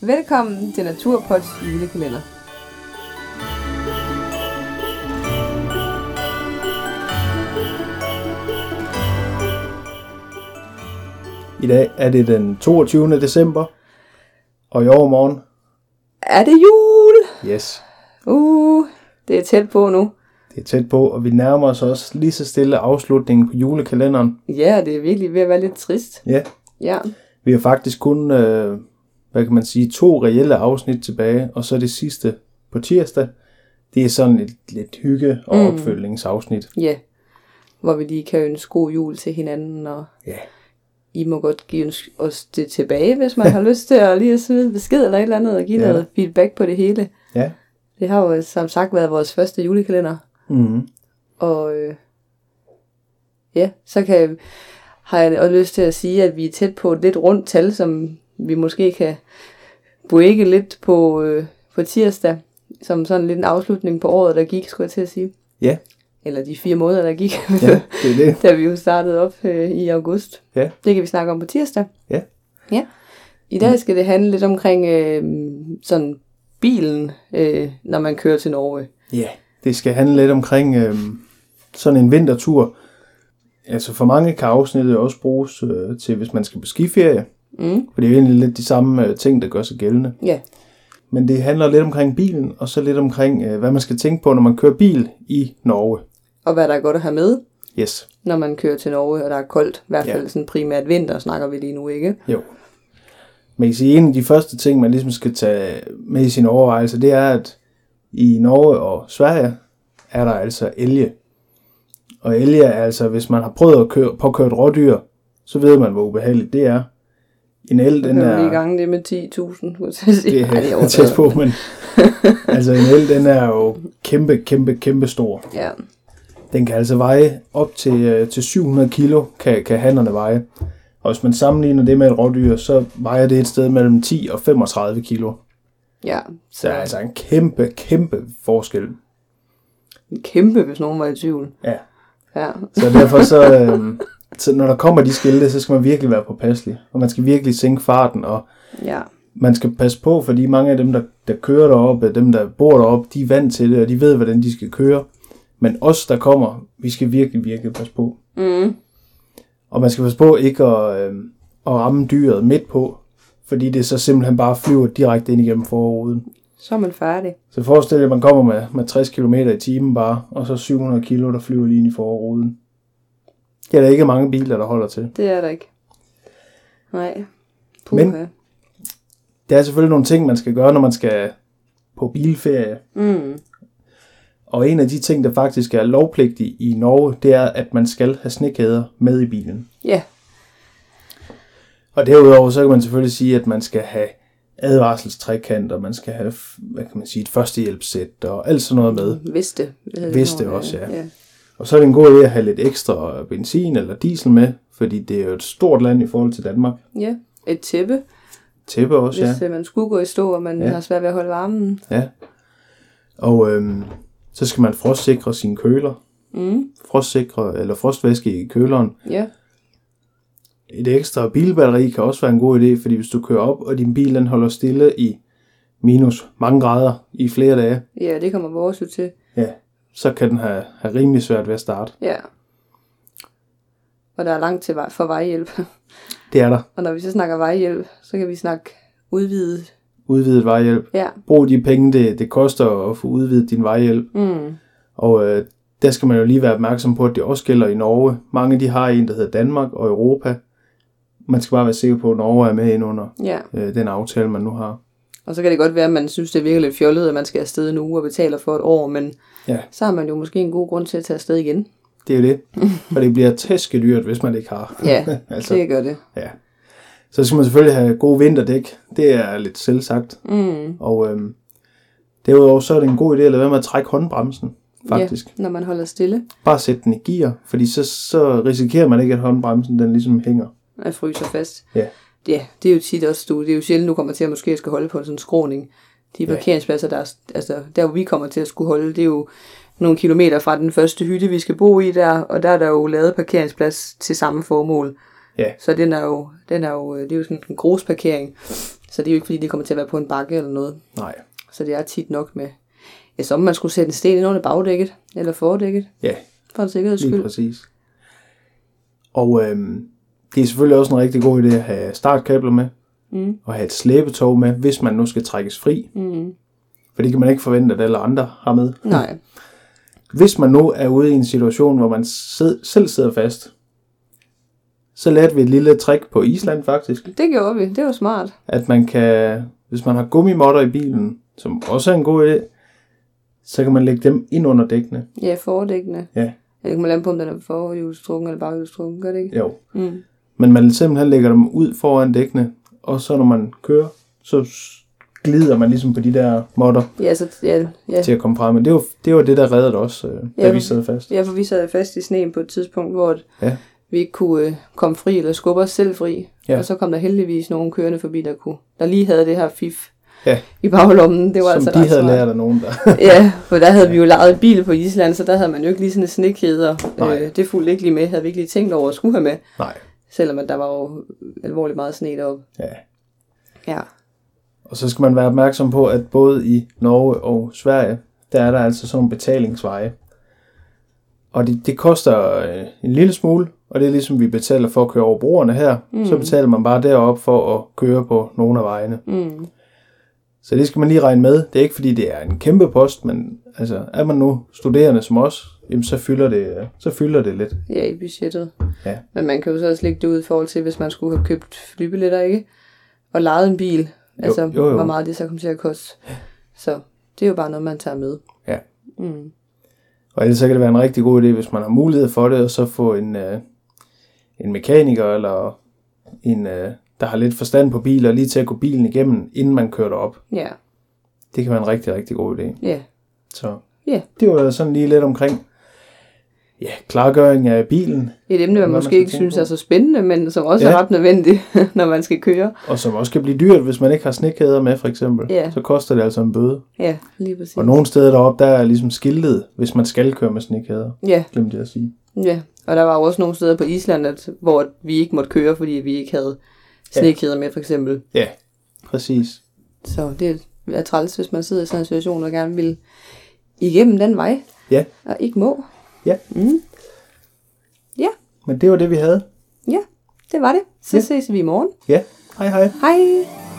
Velkommen til Naturpods julekalender. I dag er det den 22. december, og i overmorgen, Er det jul? yes, Uh, det er tæt på nu. det er tæt på, og vi nærmer os også lige så stille afslutningen på julekalenderen. Ja, det er virkelig ved at være lidt trist. Ja, Ja, vi har faktisk kun, øh, hvad kan man sige, to reelle afsnit tilbage, og så det sidste på tirsdag. Det er sådan et lidt hygge- og opfølgningsafsnit. ja. Hvor vi lige kan ønske god jul til hinanden, og Ja, I må godt give øns- os det tilbage, hvis man har lyst til at lige at smide en besked eller et eller andet, og give Ja. ja. noget feedback på det hele. ja. Det har jo som sagt været vores første julekalender, Mm-hmm. og øh, ja, så kan jeg, har jeg også lyst til at sige, at vi er tæt på et lidt rundt tal, som vi måske kan breake lidt på, øh, på tirsdag, som sådan lidt en afslutning på året, der gik, skulle jeg til at sige. Ja, Eller de fire måneder, der gik, ja, det er det. da vi jo startede op øh, i august. Ja. Det kan vi snakke om på tirsdag. Ja. Ja. I dag skal det handle lidt omkring øh, sådan bilen, øh, når man kører til Norge. Ja, det skal handle lidt omkring øh, sådan en vintertur. Altså for mange kan afsnittet også bruges øh, til, hvis man skal på skiferie. Mm. For det er jo egentlig lidt de samme øh, ting, der gør sig gældende. Ja. Men det handler lidt omkring bilen, og så lidt omkring, øh, hvad man skal tænke på, når man kører bil i Norge. Og hvad der er godt at have med, Yes, når man kører til Norge, og der er koldt. I hvert Ja. fald sådan primært vinter, snakker vi lige nu, ikke? jo. Man kan sige, en af de første ting, man ligesom skal tage med i sine overvejelser, det er, at i Norge og Sverige er der altså elge. Og elge er altså, hvis man har prøvet at køre, påkøre et rådyr, så ved man, hvor ubehageligt det er. En el, den Den er... er... lige gange det med 10.000, skulle jeg til at sige. Det Ej, er, overdrevet. tæt på, men altså en el, den er jo kæmpe, kæmpe, kæmpe stor. Ja. Den kan altså veje op til, øh, til 700 kilo, kan, kan hannerne veje. Og hvis man sammenligner det med et rådyr, så vejer det et sted mellem 10 og 35 kilo. ja. Så der er altså en kæmpe, kæmpe forskel. Kæmpe, hvis nogen var i tvivl. Ja. Ja. Så derfor så, øh, så når der kommer de skilte, så skal man virkelig være påpasselig. Og man skal virkelig sænke farten, og Ja. man skal passe på, fordi mange af dem, der, der kører deroppe, dem, der bor deroppe, de er vant til det, og de ved, hvordan de skal køre. Men os, der kommer, vi skal virkelig, virkelig passe på. Mm. Og man skal passe på ikke at, øh, at ramme dyret midt på, fordi det så simpelthen bare flyver direkte ind igennem forruden. Så er man færdig. Så forestil dig, at man kommer med, med 60 km i timen bare, og så 700 kilo, der flyver lige ind i forruden. Det er der ikke mange biler, der holder til. Det er der ikke. Nej. Puha. Men- Men... Der er selvfølgelig nogle ting, man skal gøre, når man skal på bilferie. Mm. Og en af de ting, der faktisk er lovpligtig i Norge, det er, at man skal have snekæder med i bilen. Ja. Og derudover, så kan man selvfølgelig sige, at man skal have advarselstrækant, og man skal have, hvad kan man sige, et førstehjælpssæt, og alt sådan noget med. Vidste. Hvad hedder det? Vidste Nå, også, ja. ja. Og så er det en god idé at have lidt ekstra benzin eller diesel med, fordi det er jo et stort land i forhold til Danmark. Ja. Et tæppe, Tæppe også, ja. hvis ja. man skulle gå i stå, og man Ja. ja. har svært ved at holde varmen. ja. Og øhm, så skal man frostsikre sine køler, Mm. frostsikre, eller frostvæske i køleren, Ja. Et ekstra bilbatteri kan også være en god idé, fordi hvis du kører op, og din bil den holder stille i minus mange grader i flere dage, ja, det kommer vores jo til. ja, så kan den have, have rimelig svært ved at starte. Ja. Og der er langt til vej, for vejhjælp. Det er der. Og når vi så snakker vejhjælp, så kan vi snakke udvidet. Udvidet vejhjælp. Ja. Brug de penge, det, det koster at få udvidet din vejhjælp. Mm. Og øh, der skal man jo lige være opmærksom på, at det også gælder i Norge. Mange de har en, der hedder Danmark og Europa. Man skal bare være sikker på, at Norge er med ind under Ja. øh, den aftale, man nu har. Og så kan det godt være, at man synes, det virker lidt fjollet, at man skal afsted nu og betaler for et år, men Ja. så har man jo måske en god grund til at tage afsted igen. Det er jo det. Og det bliver tæskedyrt, hvis man ikke har. Ja, altså, Så det gør det. Ja. Så skal man selvfølgelig have gode vinterdæk. Det er lidt selvsagt. Mm. Og øhm, derudover så er det en god idé at lade være med at trække håndbremsen, faktisk. Ja. Ja, når man holder stille. Bare sætte den i gear, fordi så, så risikerer man ikke, at håndbremsen den ligesom hænger. Jeg fryser fast. Ja. Ja, det er jo tit også, du, det er jo sjældent, du kommer til at måske skal holde på sådan en skråning. De Ja. parkeringspladser, der, er- altså, der hvor vi kommer til at skulle holde, det er jo nogle kilometer fra den første hytte, vi skal bo i der, og der er der jo lavet parkeringsplads til samme formål. Ja. Så den er jo, den er jo, øh, det er jo sådan en grusparkering, Så det er jo ikke, fordi de kommer til at være på en bakke eller noget. Nej. Så det er tit nok med... Ja, som om man skulle sætte en sten ind under bagdækket, eller fordækket, Ja, for en sikkerheds Lige skyld. præcis. Og øhm, det er selvfølgelig også en rigtig god idé at have startkabler med, Mm. og have et slæbetog med, hvis man nu skal trækkes fri, Mm. for det kan man ikke forvente, at alle andre har med. Nej. Hvis man nu er ude i en situation, hvor man sid- selv sidder fast, så lærte vi et lille trick på Island faktisk, Det gjorde vi. Det var smart. at man kan, hvis man har gummimotter i bilen, som også er en god idé, så kan man lægge dem ind under dækkene. Ja, fordækkende. Ja. Jeg kan man lande på, om den er forhjulstrukken eller baghjulstrukken, gør det ikke? Jo, Mm. Men man simpelthen lægger dem ud foran dækkene, og så når man kører, så s- glider man ligesom på de der måtter Ja, så, ja, ja. til at komme frem. Men det var det, var det der reddede os, øh, da Ja. vi sad fast. ja, for vi sad fast i sneen på et tidspunkt, hvor at Ja. vi ikke kunne øh, komme fri eller skubbe os selv fri. Ja. Og så kom der heldigvis nogen kørende forbi, der, kunne, der lige havde det her fif Ja. i baglommen. Det var Som altså de ret havde smart. lært af nogen der. Ja, for der havde vi jo lejet bil på Island, så der havde man jo ikke lige sådan en snekæder. Nej. Øh, det fulgte ikke lige med, havde vi ikke lige tænkt over at skulle have med, Nej. selvom at der var jo alvorligt meget sne deroppe. Ja. Ja. Og så skal man være opmærksom på, at både i Norge og Sverige, der er der altså sådan nogle betalingsveje. Og det, det koster øh, en lille smule, og det er ligesom vi betaler for at køre over broerne her. Mm. Så betaler man bare derop for at køre på nogle af vejene. Mm. Så det skal man lige regne med. Det er ikke fordi, det er en kæmpe post, men altså, er man nu studerende som os, jamen, så, fylder det, øh, så fylder det lidt. ja, i budgettet. Ja. Men man kan jo så også lægge det ud i forhold til, hvis man skulle have købt flybilletter, ikke? Og lejet en bil. Jo, Altså, jo, jo. hvor meget det så kommer til at koste. Så det er jo bare noget, man tager med. Ja. Mm. Og ellers så kan det være en rigtig god idé, hvis man har mulighed for det, og så få en, øh, en mekaniker eller en, øh, der har lidt forstand på biler, lige til at gå bilen igennem, inden man kører derop. Ja, Det kan være en rigtig, rigtig god idé. ja. Så Ja. det var sådan lige lidt omkring ja, klargøring af bilen, Et emne, man Noget, man måske skal ikke tænke synes på. er så spændende, men som også Ja. er ret nødvendigt, når man skal køre. og som også kan blive dyrt, hvis man ikke har snekæder med, for eksempel. Ja. Så koster det altså en bøde. Ja, lige præcis. Og nogle steder deroppe, der er ligesom skiltet, hvis man skal køre med snekæder. Ja, Glemte jeg at sige. ja. Og der var jo også nogle steder på Island, at, hvor vi ikke måtte køre, fordi vi ikke havde snekæder med, for eksempel. Ja, præcis. Så det er træls, hvis man sidder i sådan en situation, og gerne vil igennem den vej, Ja, og ikke må. Ja. Mm. Ja, men det var det, vi havde. ja, det var det. Så Ja. ses vi i morgen. Ja, hej hej. Hej.